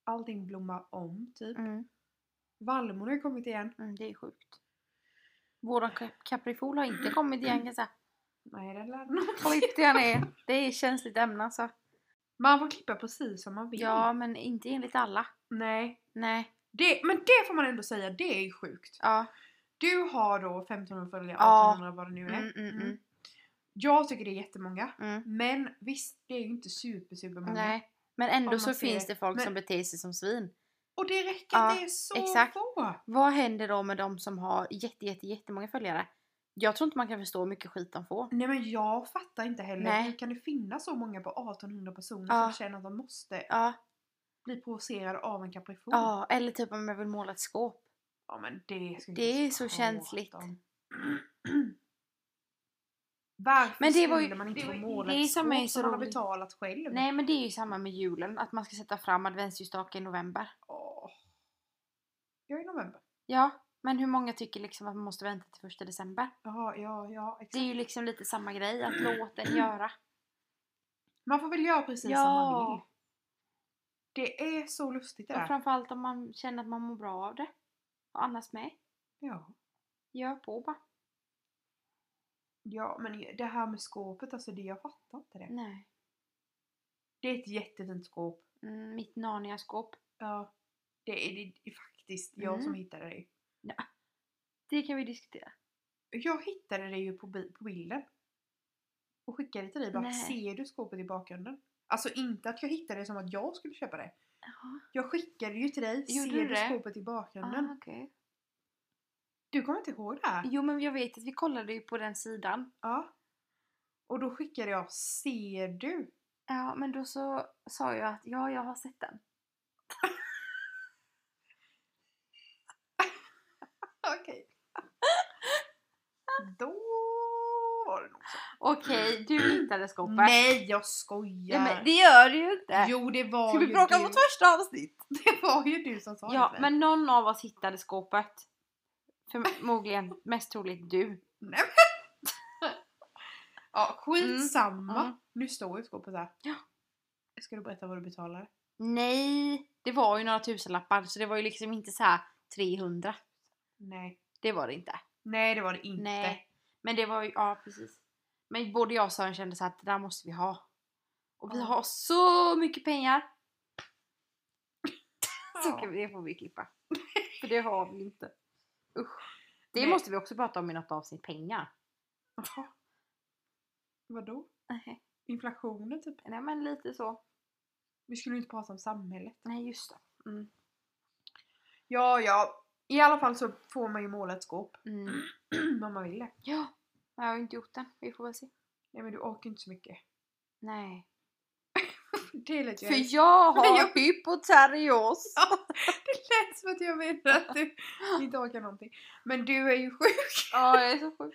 Speaker 1: Allting blommar om, typ.
Speaker 2: Mm.
Speaker 1: Vallmon har ju kommit igen.
Speaker 2: Mm, det är sjukt. Våran kap- kaprifol har inte kommit igen kan jag säga.
Speaker 1: Nej, det lär nog.
Speaker 2: Vad viktig han är. Det är ett känsligt ämne alltså.
Speaker 1: Man får klippa precis som man vill.
Speaker 2: Ja, men inte enligt alla.
Speaker 1: Nej.
Speaker 2: Nej.
Speaker 1: Det, men det får man ändå säga, det är ju sjukt.
Speaker 2: Ja.
Speaker 1: Du har då 1500 följare,
Speaker 2: Ja.
Speaker 1: 1800 vad det nu är.
Speaker 2: Mm, mm, mm.
Speaker 1: Jag tycker det är jättemånga.
Speaker 2: Mm.
Speaker 1: Men visst, det är ju inte super, super många.
Speaker 2: Nej. Men
Speaker 1: Om
Speaker 2: ändå
Speaker 1: man
Speaker 2: så
Speaker 1: ser-
Speaker 2: finns det folk
Speaker 1: men-
Speaker 2: som beter sig som svin.
Speaker 1: Och det räcker
Speaker 2: Ja,
Speaker 1: att det är så
Speaker 2: exakt.
Speaker 1: få.
Speaker 2: Vad händer då med de som har jätte, jätte, jättemånga följare? Jag tror inte man kan förstå hur mycket skit de får.
Speaker 1: Nej men jag fattar inte heller.
Speaker 2: Nej.
Speaker 1: Hur kan det finnas så många på 1800 personer
Speaker 2: Ja.
Speaker 1: som känner att de måste
Speaker 2: Ja,
Speaker 1: bli provocerade av en kaprifol?
Speaker 2: ja, eller typ om jag vill måla ett skåp.
Speaker 1: Ja, men det ska vi
Speaker 2: Det
Speaker 1: inte
Speaker 2: är så
Speaker 1: prata
Speaker 2: känsligt.
Speaker 1: om. Varför
Speaker 2: Men det var ju-
Speaker 1: skulle man inte
Speaker 2: det
Speaker 1: få
Speaker 2: var ju
Speaker 1: måla
Speaker 2: det
Speaker 1: ett
Speaker 2: som är
Speaker 1: skåp
Speaker 2: så
Speaker 1: man har
Speaker 2: roligt.
Speaker 1: betalat själv?
Speaker 2: Nej men det är ju samma med julen, att man ska sätta fram adventsljusstake i november.
Speaker 1: Åh. Jag är i november.
Speaker 2: Ja, men hur många tycker liksom att man måste vänta till första december?
Speaker 1: Jaha, ja, ja, exakt.
Speaker 2: Det är ju liksom lite samma grej, att låta en göra.
Speaker 1: Man får väl göra precis som man vill.
Speaker 2: Ja,
Speaker 1: Det är så lustigt det
Speaker 2: och
Speaker 1: där.
Speaker 2: framförallt om man känner att man mår bra av det. Och annars med.
Speaker 1: Ja.
Speaker 2: Gör på bara.
Speaker 1: ja, men det här med skåpet, alltså det, jag fattar inte det.
Speaker 2: Nej.
Speaker 1: Det är ett jättefint skåp.
Speaker 2: Mm, mitt Narnia-skåp.
Speaker 1: Ja. Det är det, är faktiskt jag
Speaker 2: Mm.
Speaker 1: som hittade det.
Speaker 2: Det kan vi diskutera.
Speaker 1: Jag hittade det ju på, bi- på bilden. Och skickade till dig bara,
Speaker 2: Nej.
Speaker 1: ser du skåpet i bakgrunden? Alltså inte att jag hittade det som att jag skulle köpa det. Jag skickade ju till dig,
Speaker 2: Gjorde
Speaker 1: ser
Speaker 2: du
Speaker 1: du
Speaker 2: det?
Speaker 1: skåpet i bakgrunden?
Speaker 2: Ah, okay.
Speaker 1: Du kommer inte ihåg det här?
Speaker 2: Jo men jag vet att vi kollade ju på den sidan.
Speaker 1: Ja. Och då skickade jag, ser du?
Speaker 2: Ja men då så sa jag att ja jag har sett den.
Speaker 1: Okej. då var det nog så.
Speaker 2: Okej du hittade skåpet.
Speaker 1: Mm. Nej jag skojar! Äh,
Speaker 2: Nej, men det gör du ju inte.
Speaker 1: Jo det var
Speaker 2: Ska
Speaker 1: ju
Speaker 2: vi bråka om
Speaker 1: du.
Speaker 2: vårt första avsnitt?
Speaker 1: Det var ju du som sa
Speaker 2: Ja
Speaker 1: det.
Speaker 2: men någon av oss hittade skåpet. Förmodligen mest troligt du.
Speaker 1: Ja, skitsamma.
Speaker 2: Mm, mm.
Speaker 1: Nu står ju skåpet där.
Speaker 2: Ja.
Speaker 1: Ska du berätta vad du betalade?
Speaker 2: Nej. Det var ju några tusenlappar så det var ju liksom inte så här 300.
Speaker 1: Nej.
Speaker 2: Det var det inte.
Speaker 1: Nej, det var det inte.
Speaker 2: Nej. Men det var ju, ja precis. Men både jag och Sören kände så här att det där måste vi ha. Och vi
Speaker 1: Ja.
Speaker 2: har så mycket pengar.
Speaker 1: Ja.
Speaker 2: Så kan vi, det får vi klippa. För det har vi inte. Usch. Det
Speaker 1: Nej.
Speaker 2: måste vi också prata om i något avsnitt, pengar.
Speaker 1: Jaha. Vadå?
Speaker 2: Nej.
Speaker 1: Inflationen typ?
Speaker 2: Nej men lite så.
Speaker 1: Vi skulle ju inte prata om samhället.
Speaker 2: Nej, just det. Mm.
Speaker 1: Ja, ja. I alla fall så får man ju måla ett skåp.
Speaker 2: Mm.
Speaker 1: om man vill det.
Speaker 2: Ja, jag har ju inte gjort den. Vi får väl se.
Speaker 1: Nej men du orkar inte så mycket.
Speaker 2: Nej.
Speaker 1: Det lät ju
Speaker 2: För
Speaker 1: hemskt.
Speaker 2: jag
Speaker 1: Men jag-
Speaker 2: har hypoterios.
Speaker 1: Det lät som att jag menar att du inte orkar någonting. Men du är ju sjuk.
Speaker 2: Ja, jag är så sjuk.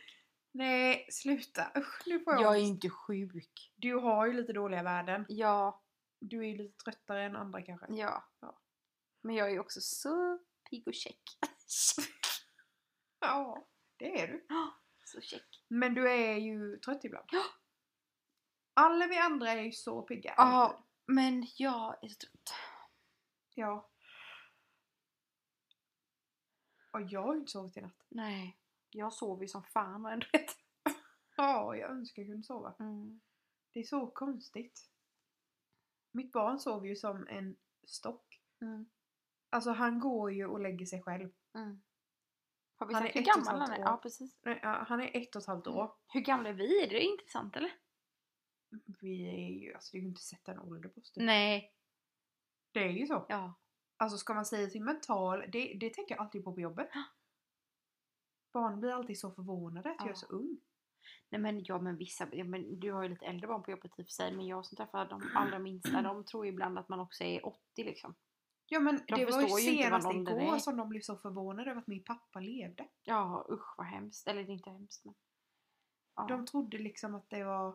Speaker 1: Nej, sluta. Usch, nu får jag,
Speaker 2: Jag är
Speaker 1: ångest.
Speaker 2: inte sjuk.
Speaker 1: Du har ju lite dåliga värden.
Speaker 2: Ja,
Speaker 1: Du är ju lite tröttare än andra kanske.
Speaker 2: ja.
Speaker 1: Ja.
Speaker 2: Men jag är ju också så pigg och check.
Speaker 1: Ja, det är du.
Speaker 2: så check.
Speaker 1: Men du är ju trött ibland.
Speaker 2: Ja.
Speaker 1: Alla vi andra är ju så pigga.
Speaker 2: Ja, men jag är så trött.
Speaker 1: Ja. Och jag har ju inte sovit i natt.
Speaker 2: Nej. Jag sover ju som fan och ändå inte.
Speaker 1: Ja, jag önskar jag kunde sova.
Speaker 2: Mm,
Speaker 1: Det är så konstigt. Mitt barn sover ju som en stock.
Speaker 2: Mm.
Speaker 1: Alltså han går ju och lägger sig själv.
Speaker 2: Mm. Har vi
Speaker 1: Han
Speaker 2: sagt
Speaker 1: är
Speaker 2: hur
Speaker 1: ett och ett
Speaker 2: gammal
Speaker 1: halvt
Speaker 2: han är?
Speaker 1: år.
Speaker 2: Ja, precis.
Speaker 1: Nej, ja, Han är ett och ett halvt år.
Speaker 2: Hur gamla är vi? Är det intressant eller?
Speaker 1: Vi är ju, alltså det är ju inte att sätta en ålder på oss. typ.
Speaker 2: Nej.
Speaker 1: Det är ju så.
Speaker 2: Ja.
Speaker 1: Alltså ska man säga sin mental, det, det tänker jag alltid på på jobbet.
Speaker 2: Ja.
Speaker 1: Barn blir alltid så förvånade att jag är
Speaker 2: Ja.
Speaker 1: så ung.
Speaker 2: Nej men ja men vissa, ja, men du har ju lite äldre barn på jobbet i och för sig men jag som träffar de allra minsta de tror ju ibland att man också är 80 liksom.
Speaker 1: Ja men det var ju
Speaker 2: förstår ju inte vad
Speaker 1: senast
Speaker 2: åldern
Speaker 1: igår
Speaker 2: är.
Speaker 1: som de blev så förvånade över att min pappa levde.
Speaker 2: Ja usch vad hemskt. Eller det är inte hemskt men. Ja.
Speaker 1: De trodde liksom att det var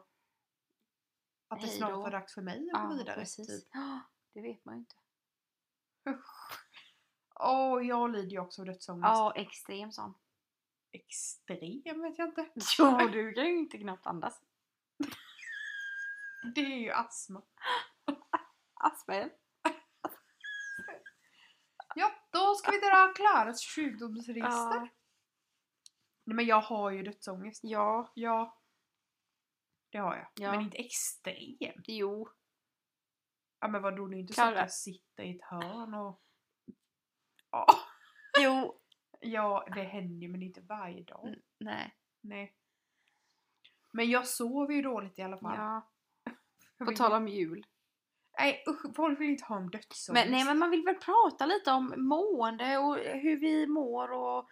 Speaker 1: att det
Speaker 2: Hej
Speaker 1: snart
Speaker 2: då.
Speaker 1: var dags för mig att gå
Speaker 2: ja,
Speaker 1: vidare.
Speaker 2: precis.
Speaker 1: Typ.
Speaker 2: Ja, det vet man ju inte.
Speaker 1: Åh, jag lider ju också av dödsångest.
Speaker 2: Ja extrem sån.
Speaker 1: Extrem vet jag inte.
Speaker 2: Ja du kan ju inte knappt andas.
Speaker 1: Det är ju astma.
Speaker 2: Aspen.
Speaker 1: Ja, då ska vi dra Klaras sjukdomsregister.
Speaker 2: Ja.
Speaker 1: Nej men jag har ju dödsångest.
Speaker 2: ja.
Speaker 1: Ja. Det har jag.
Speaker 2: Ja.
Speaker 1: Men inte extrem.
Speaker 2: Jo.
Speaker 1: Ja men vadå, det är ju inte så att
Speaker 2: Klara.
Speaker 1: jag sitter i ett hörn och... Ja.
Speaker 2: Jo.
Speaker 1: Ja, det händer ju men inte varje dag.
Speaker 2: Mm. Nej.
Speaker 1: Nej. Men jag sover ju dåligt i alla fall.
Speaker 2: Ja.
Speaker 1: Jag
Speaker 2: På
Speaker 1: vill-
Speaker 2: tal om jul.
Speaker 1: Nej usch, folk vill inte ha en dödsångest.
Speaker 2: Men, nej men man vill väl prata lite om mående och hur vi mår och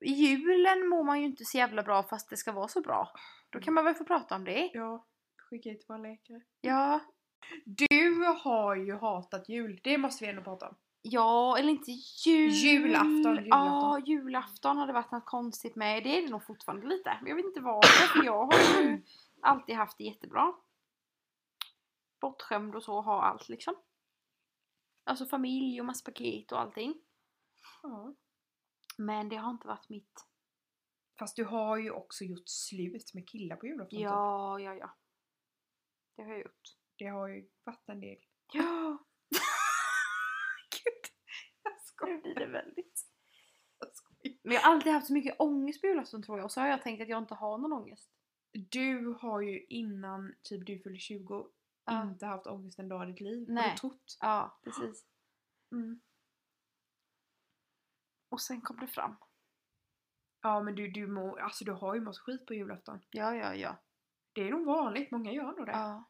Speaker 2: i julen mår man ju inte så jävla bra fast det ska vara så bra. Då kan man väl få prata om det.
Speaker 1: Mm. Ja, skicka hit våra läkare.
Speaker 2: Ja,
Speaker 1: Du har ju hatat jul, det måste vi ändå prata om.
Speaker 2: ja eller inte jul.
Speaker 1: Julafton, julafton.
Speaker 2: Ja, julafton har det varit något konstigt med. Det är det nog fortfarande lite. Men jag vet inte varför för jag har ju alltid haft det jättebra. Bortskämd och så, har allt liksom. Alltså familj och massa paket och allting.
Speaker 1: Ja.
Speaker 2: Men det har inte varit mitt
Speaker 1: Fast du har ju också gjort slut med killar på julafton. typ.
Speaker 2: Ja, ja, ja. Det har jag gjort.
Speaker 1: Det har ju varit en del.
Speaker 2: Ja.
Speaker 1: Gud, jag
Speaker 2: Nu
Speaker 1: skojar.
Speaker 2: blir det väldigt.
Speaker 1: jag skojar.
Speaker 2: Men jag har alltid haft så mycket ångest på julafton tror jag. Och så har jag tänkt att jag inte har någon ångest.
Speaker 1: Du har ju innan typ du fyllde 20
Speaker 2: Ja.
Speaker 1: inte haft ångest en dag i ditt liv. Har
Speaker 2: Nej.
Speaker 1: du trott?
Speaker 2: Ja, precis.
Speaker 1: Mm.
Speaker 2: Och sen kom det fram.
Speaker 1: Ja men du, du, må, alltså, du har ju mått skit på julafton.
Speaker 2: Ja, ja, ja.
Speaker 1: Det är nog vanligt, många gör nog det.
Speaker 2: ja.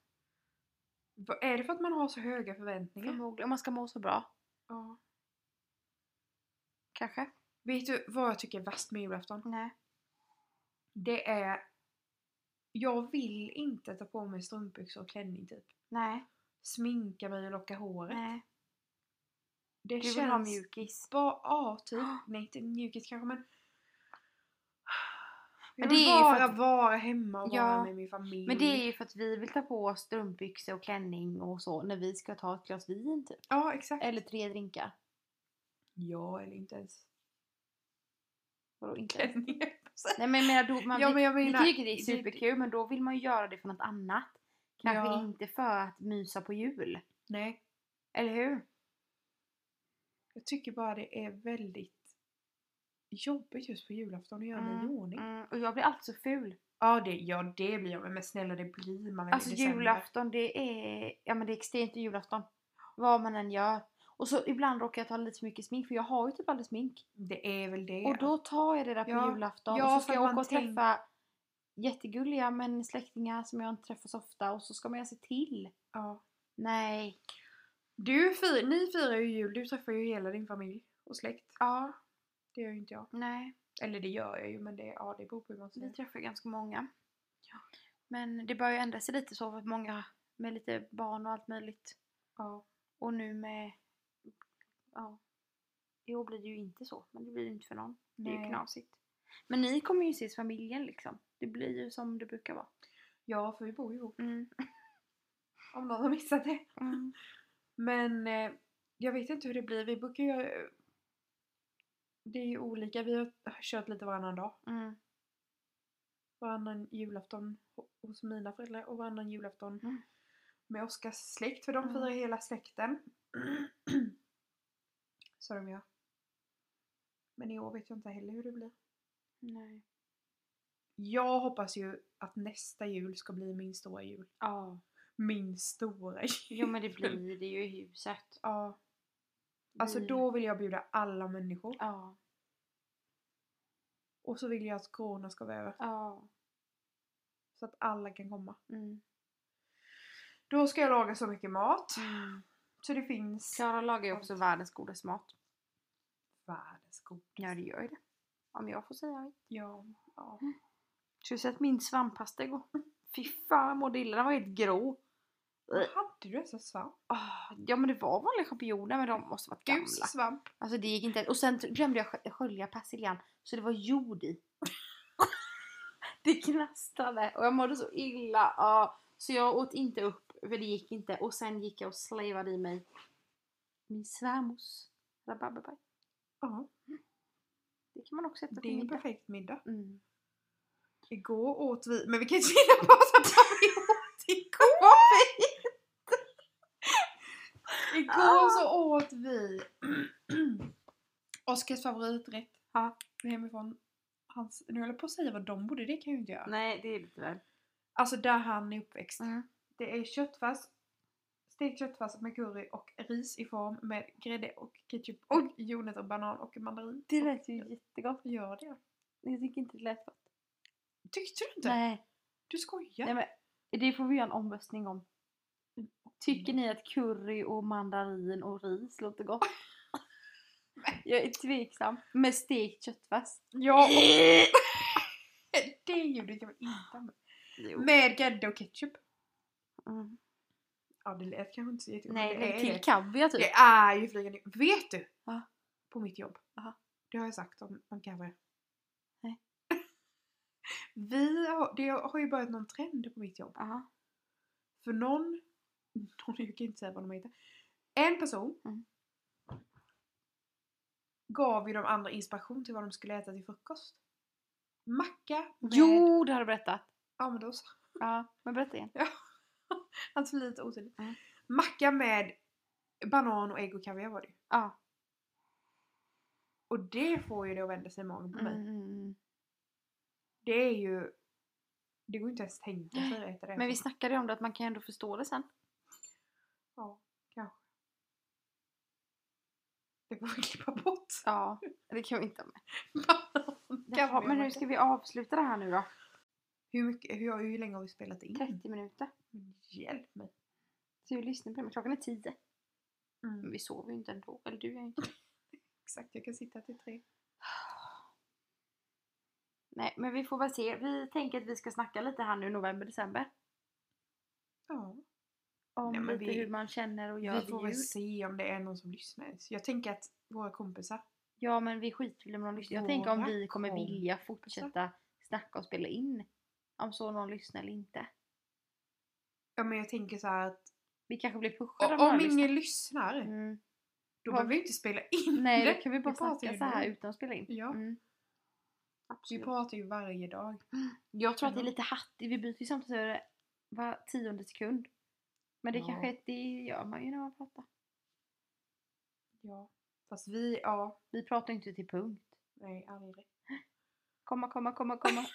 Speaker 1: Vad- Är det för att man har så höga förväntningar?
Speaker 2: Förmodligen. Om man ska må så bra.
Speaker 1: Ja.
Speaker 2: Kanske.
Speaker 1: Vet du vad jag tycker är värst med julafton?
Speaker 2: Nej.
Speaker 1: Det är... Jag vill inte ta på mig strumpbyxor och klänning typ.
Speaker 2: Nej.
Speaker 1: Sminka mig och locka håret.
Speaker 2: Nej.
Speaker 1: Det
Speaker 2: Du vill ha Ah. mjukis.
Speaker 1: bara... Ja, typ. Nej, inte mjukis kanske men... Jag
Speaker 2: Men
Speaker 1: vill
Speaker 2: det är ju för
Speaker 1: bara
Speaker 2: att-
Speaker 1: vara hemma och vara
Speaker 2: Ja,
Speaker 1: med min familj.
Speaker 2: Men det är ju för att vi vill ta på oss strumpbyxor och klänning och så när vi ska ta ett glas vin typ.
Speaker 1: Ja, exakt.
Speaker 2: Eller tre drinkar.
Speaker 1: Ja, eller inte ens
Speaker 2: Vadå inte?
Speaker 1: klänning.
Speaker 2: Nej men jag menar, då, man
Speaker 1: Ja,
Speaker 2: vill-
Speaker 1: men jag menar,
Speaker 2: vi tycker det
Speaker 1: det-
Speaker 2: är superkul men då vill man ju göra det för något annat. Kanske
Speaker 1: Ja.
Speaker 2: inte för att mysa på jul.
Speaker 1: Nej,
Speaker 2: Eller hur?
Speaker 1: jag tycker bara det är väldigt jobbigt just på julafton att göra mig i ordning.
Speaker 2: mm, och jag blir alltid så ful.
Speaker 1: Ja, det, ja, det blir jag. Men snälla, det blir man väl
Speaker 2: alltså
Speaker 1: i december?
Speaker 2: julafton det är, ja men det är extremt i julafton. Vad man än gör. Och så ibland råkar jag ta lite för mycket smink för jag har ju typ aldrig smink.
Speaker 1: Det är väl det.
Speaker 2: Och då tar jag det där på
Speaker 1: Ja.
Speaker 2: julafton
Speaker 1: Ja,
Speaker 2: och så ska
Speaker 1: för
Speaker 2: jag
Speaker 1: man
Speaker 2: åka och
Speaker 1: tänk-
Speaker 2: träffa jättegulliga men släktingar som jag inte träffar så ofta och så ska man göra sig till.
Speaker 1: ja.
Speaker 2: Nej.
Speaker 1: Du fir, ni firar ju jul, du träffar ju hela din familj och släkt.
Speaker 2: Ja,
Speaker 1: Det gör ju inte jag.
Speaker 2: nej.
Speaker 1: Eller det gör jag ju men det, ja, det beror på hur man
Speaker 2: Vi
Speaker 1: säger.
Speaker 2: träffar ganska många.
Speaker 1: Ja.
Speaker 2: Men det börjar ju ändra sig lite så för att många med lite barn och allt möjligt.
Speaker 1: Ja.
Speaker 2: Och nu med... Ja. I år blir det ju inte så, men det blir det inte för någon. Det är ju
Speaker 1: Nej.
Speaker 2: knasigt. Men ni kommer ju ses familjen liksom. Det blir ju som det brukar vara.
Speaker 1: ja, för vi bor ju ihop.
Speaker 2: Mm.
Speaker 1: Om någon har missat det.
Speaker 2: Mm.
Speaker 1: Men eh, jag vet inte hur det blir. Vi brukar ju... Det är ju olika. Vi har kört lite varannan dag.
Speaker 2: Mm.
Speaker 1: Varannan julafton ho- hos mina föräldrar och varannan julafton
Speaker 2: Mm.
Speaker 1: med Oskars släkt. För de
Speaker 2: Mm.
Speaker 1: firar hela släkten. Så de gör. Men i år vet jag inte heller hur det blir.
Speaker 2: Nej.
Speaker 1: Jag hoppas ju att nästa jul ska bli min stora jul.
Speaker 2: Ja.
Speaker 1: Min stora jul.
Speaker 2: Jo men det blir det ju i huset.
Speaker 1: Ja. Alltså
Speaker 2: Vi-
Speaker 1: då vill jag bjuda alla människor.
Speaker 2: Ja.
Speaker 1: Och så vill jag att corona ska vara över.
Speaker 2: Ja.
Speaker 1: Så att alla kan komma.
Speaker 2: Mm.
Speaker 1: Då ska jag laga så mycket mat.
Speaker 2: Mm.
Speaker 1: Så det finns
Speaker 2: Klara lagar ju också världens godaste mat.
Speaker 1: världens god.
Speaker 2: Ja det Mm. gör ju det. Om jag får säga det.
Speaker 1: Ja, ja.
Speaker 2: Ska du sett min svamppasta igår? Fy fan jag mådde illa, den var helt grå.
Speaker 1: Vad Hade du så svamp?
Speaker 2: Ah, ja men det var vanliga champinjoner men de måste varit gamla.
Speaker 1: Gul svamp.
Speaker 2: Alltså det gick inte. Och sen t- glömde jag skö- skölja persiljan så det var jord i. det knastrade och jag mådde så illa. ja. så jag åt inte upp för det gick inte. Och sen gick jag och slavade i mig min svärmors rabarberpaj.
Speaker 1: Ja,
Speaker 2: Det kan man också äta
Speaker 1: det
Speaker 2: till
Speaker 1: är en
Speaker 2: middag.
Speaker 1: perfekt middag.
Speaker 2: Mm.
Speaker 1: Igår åt vi, men vi kan inte hinna prata om vad vi åt igår! Igår så
Speaker 2: Ah.
Speaker 1: åt vi Oskars favoriträtt
Speaker 2: Ja.
Speaker 1: hemifrån. Hans, nu höll jag på att säga vad de bodde, det kan jag ju inte göra.
Speaker 2: Nej det är lite väl.
Speaker 1: Alltså där han är uppväxt.
Speaker 2: Mm.
Speaker 1: Det är köttfärs, stekt köttfärs med curry och ris i form med grädde och ketchup och jordnötter och banan och mandarin.
Speaker 2: Det lät ju jättegott.
Speaker 1: Gör det.
Speaker 2: Jag tycker inte det lät gott.
Speaker 1: Tyckte du inte?
Speaker 2: Nej.
Speaker 1: Du skojar?
Speaker 2: Nej men det får vi göra en omröstning om. Tycker ni att curry och mandarin och ris låter gott? Jag är tveksam. Med stekt köttfärs.
Speaker 1: Ja, det ljudet jag inte med.
Speaker 2: Jo.
Speaker 1: Med grädde och ketchup.
Speaker 2: Mm.
Speaker 1: Ja, det lät kanske inte så jättegott. men
Speaker 2: Nej,
Speaker 1: det
Speaker 2: lägg
Speaker 1: är
Speaker 2: till
Speaker 1: det.
Speaker 2: kaviar typ.
Speaker 1: Det är ju flygande. Vet du?
Speaker 2: Ja.
Speaker 1: På mitt jobb.
Speaker 2: Jaha.
Speaker 1: Det har jag sagt om, om kaviar.
Speaker 2: Nej.
Speaker 1: Vi har, det har ju börjat någon trend på mitt jobb.
Speaker 2: Aha.
Speaker 1: För någon, någon jag kan inte säga vad de heter. En person
Speaker 2: Mm.
Speaker 1: gav ju de andra inspiration till vad de skulle äta till frukost. Macka med...
Speaker 2: Jo, det har du berättat.
Speaker 1: Ja men då så.
Speaker 2: Ja, men berätta igen.
Speaker 1: Alltså lite otydligt.
Speaker 2: Mm.
Speaker 1: Macka med banan och ägg och kaviar var det ju.
Speaker 2: Ja.
Speaker 1: Och det får ju det att vända sig i magen på
Speaker 2: Mm,
Speaker 1: mig.
Speaker 2: mm, mm.
Speaker 1: Det är ju... Det går inte ens att tänka sig att äta det.
Speaker 2: Men vi snackade ju om det att man kan ändå förstå det sen.
Speaker 1: Ja, kanske. Det får vi klippa bort.
Speaker 2: Ja, det kan vi inte ha med.
Speaker 1: Banan,
Speaker 2: Jaha,
Speaker 1: kaviar.
Speaker 2: men nu ska vi avsluta det här nu då.
Speaker 1: Hur, mycket, hur, hur länge har vi spelat in?
Speaker 2: 30 minuter.
Speaker 1: Men Hjälp mig.
Speaker 2: Så vi lyssnar på det, men klockan är 10. Men
Speaker 1: Mm.
Speaker 2: vi sover ju inte ändå. Eller du gör ju inte
Speaker 1: Exakt, jag kan sitta till tre.
Speaker 2: Nej, men vi får väl se. Vi tänker att vi ska snacka lite här nu i november, december.
Speaker 1: Ja.
Speaker 2: Om
Speaker 1: Nej, men
Speaker 2: lite
Speaker 1: vi-
Speaker 2: hur man känner och gör
Speaker 1: vi
Speaker 2: vid
Speaker 1: får väl
Speaker 2: jul.
Speaker 1: se om det är någon som lyssnar ens. Jag tänker att våra kompisar.
Speaker 2: Ja, men vi skiter väl om någon lyssnar. Jag tänker om
Speaker 1: Våra
Speaker 2: vi kommer
Speaker 1: kompisar.
Speaker 2: vilja fortsätta snacka och spela in. Om så någon lyssnar eller inte.
Speaker 1: Ja men jag tänker så här att
Speaker 2: Vi kanske blir pushade
Speaker 1: om, om
Speaker 2: någon
Speaker 1: ingen lyssnar
Speaker 2: lyssnar. Mm.
Speaker 1: då
Speaker 2: Har
Speaker 1: behöver vi inte spela in
Speaker 2: Nej,
Speaker 1: det.
Speaker 2: då kan vi bara
Speaker 1: pratar
Speaker 2: snacka
Speaker 1: ju
Speaker 2: så här
Speaker 1: nu.
Speaker 2: utan att spela in.
Speaker 1: Ja.
Speaker 2: Mm.
Speaker 1: Vi
Speaker 2: Absolut.
Speaker 1: pratar ju varje dag.
Speaker 2: Jag tror att det är
Speaker 1: Mm.
Speaker 2: lite hattigt. Vi byter ju samtalsörare var tionde sekund. Men det
Speaker 1: Ja.
Speaker 2: kanske det gör man ju när man pratar.
Speaker 1: Ja. Fast vi, ja.
Speaker 2: Vi pratar inte till punkt.
Speaker 1: Nej, aldrig.
Speaker 2: Komma, komma, komma, komma.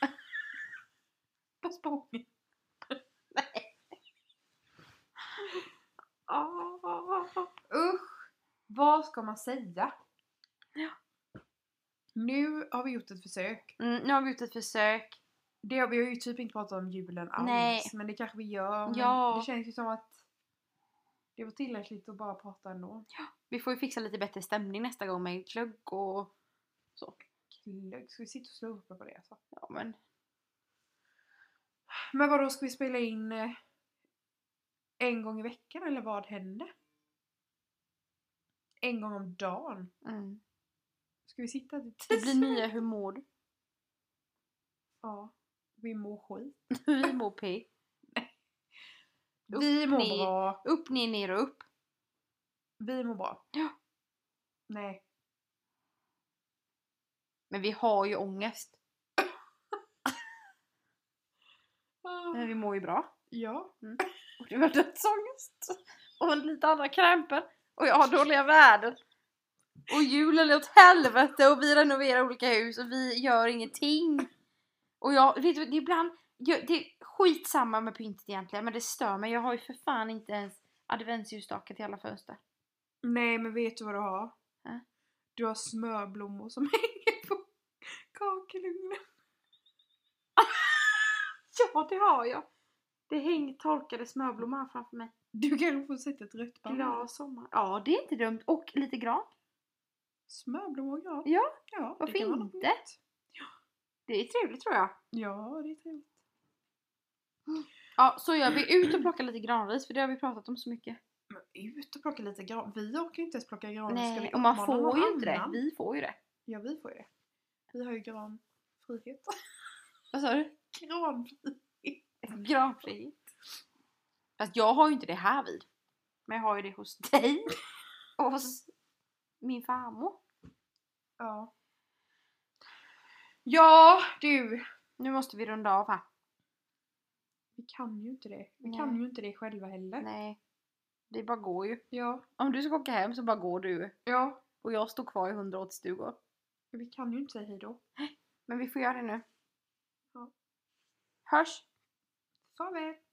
Speaker 1: På språnget.
Speaker 2: Ah.
Speaker 1: Usch! Vad ska man säga?
Speaker 2: Ja.
Speaker 1: Nu har vi gjort ett försök.
Speaker 2: Mm, nu har vi gjort ett försök.
Speaker 1: Det har vi har ju typ inte pratat om julen alls.
Speaker 2: Nej.
Speaker 1: Men det kanske vi gör. Men
Speaker 2: Ja.
Speaker 1: Det känns ju som att det Det var tillräckligt att bara prata ändå.
Speaker 2: Vi får ju fixa lite bättre stämning nästa gång med glögg och så.
Speaker 1: Glögg, ska vi sitta och slurpa på det alltså?
Speaker 2: Ja men
Speaker 1: Men vadå, ska vi spela in eh, en gång i veckan eller vad händer? En gång om dagen?
Speaker 2: mm.
Speaker 1: Ska vi sitta till
Speaker 2: Det blir nya Hur mår du?
Speaker 1: Ja. Vi mår skit.
Speaker 2: Vi mår pigg. Upp,
Speaker 1: Vi mår
Speaker 2: ner.
Speaker 1: bra.
Speaker 2: Upp, ner, ner och upp.
Speaker 1: Vi mår bra.
Speaker 2: Ja.
Speaker 1: Nej.
Speaker 2: Men vi har ju ångest. Men vi mår ju bra.
Speaker 1: Ja.
Speaker 2: Och du har dödsångest. Och lite andra krämpor. Och jag har dåliga värden. Och julen är åt helvete och vi renoverar olika hus och vi gör ingenting. Och jag, vet du, det är ibland, jag, det är skitsamma med pyntet egentligen men det stör mig. Jag har ju för fan inte ens adventsljusstakar till alla fönster.
Speaker 1: Nej, men vet du vad du har?
Speaker 2: Äh.
Speaker 1: Du har smörblommor som hänger på kakelugnen.
Speaker 2: Ja, det har jag. Det hänger torkade smörblommor här framför mig.
Speaker 1: Du kanske får sätta ett rött band.
Speaker 2: Glad sommar. Ja, det är inte dumt. Och lite gran.
Speaker 1: Smörblommor, ja.
Speaker 2: Ja,
Speaker 1: ja
Speaker 2: varför
Speaker 1: det kan vara något
Speaker 2: inte?
Speaker 1: nytt.
Speaker 2: Det är trevligt tror jag.
Speaker 1: Ja, det är trevligt.
Speaker 2: Ja, så gör vi. Ut och plocka lite granris för det har vi pratat om så mycket.
Speaker 1: Men ut och plocka lite gran. Vi orkar ju inte ens plocka gran. Ska
Speaker 2: Nej,
Speaker 1: vi
Speaker 2: och man
Speaker 1: uppmana
Speaker 2: får
Speaker 1: någon
Speaker 2: ju inte det.
Speaker 1: annan?
Speaker 2: Vi får ju det.
Speaker 1: Ja, vi får ju det. Vi har ju granfrihet.
Speaker 2: Vad sa du?
Speaker 1: Granfrihet.
Speaker 2: Granfrihet. Fast jag har ju inte det här vid. Men jag har ju det hos dig. Och hos min farmor.
Speaker 1: Ja. Ja, du.
Speaker 2: Nu måste vi runda av här.
Speaker 1: Vi kan ju inte det. Vi
Speaker 2: Nej.
Speaker 1: kan ju inte det själva heller.
Speaker 2: Nej. Det bara går ju.
Speaker 1: Ja.
Speaker 2: Om du ska åka hem så bara går du.
Speaker 1: Ja.
Speaker 2: Och jag står kvar i 180 stugor.
Speaker 1: Vi kan ju inte säga hejdå.
Speaker 2: Men vi får göra det nu.
Speaker 1: Ja.
Speaker 2: Hörs!
Speaker 1: Farväl.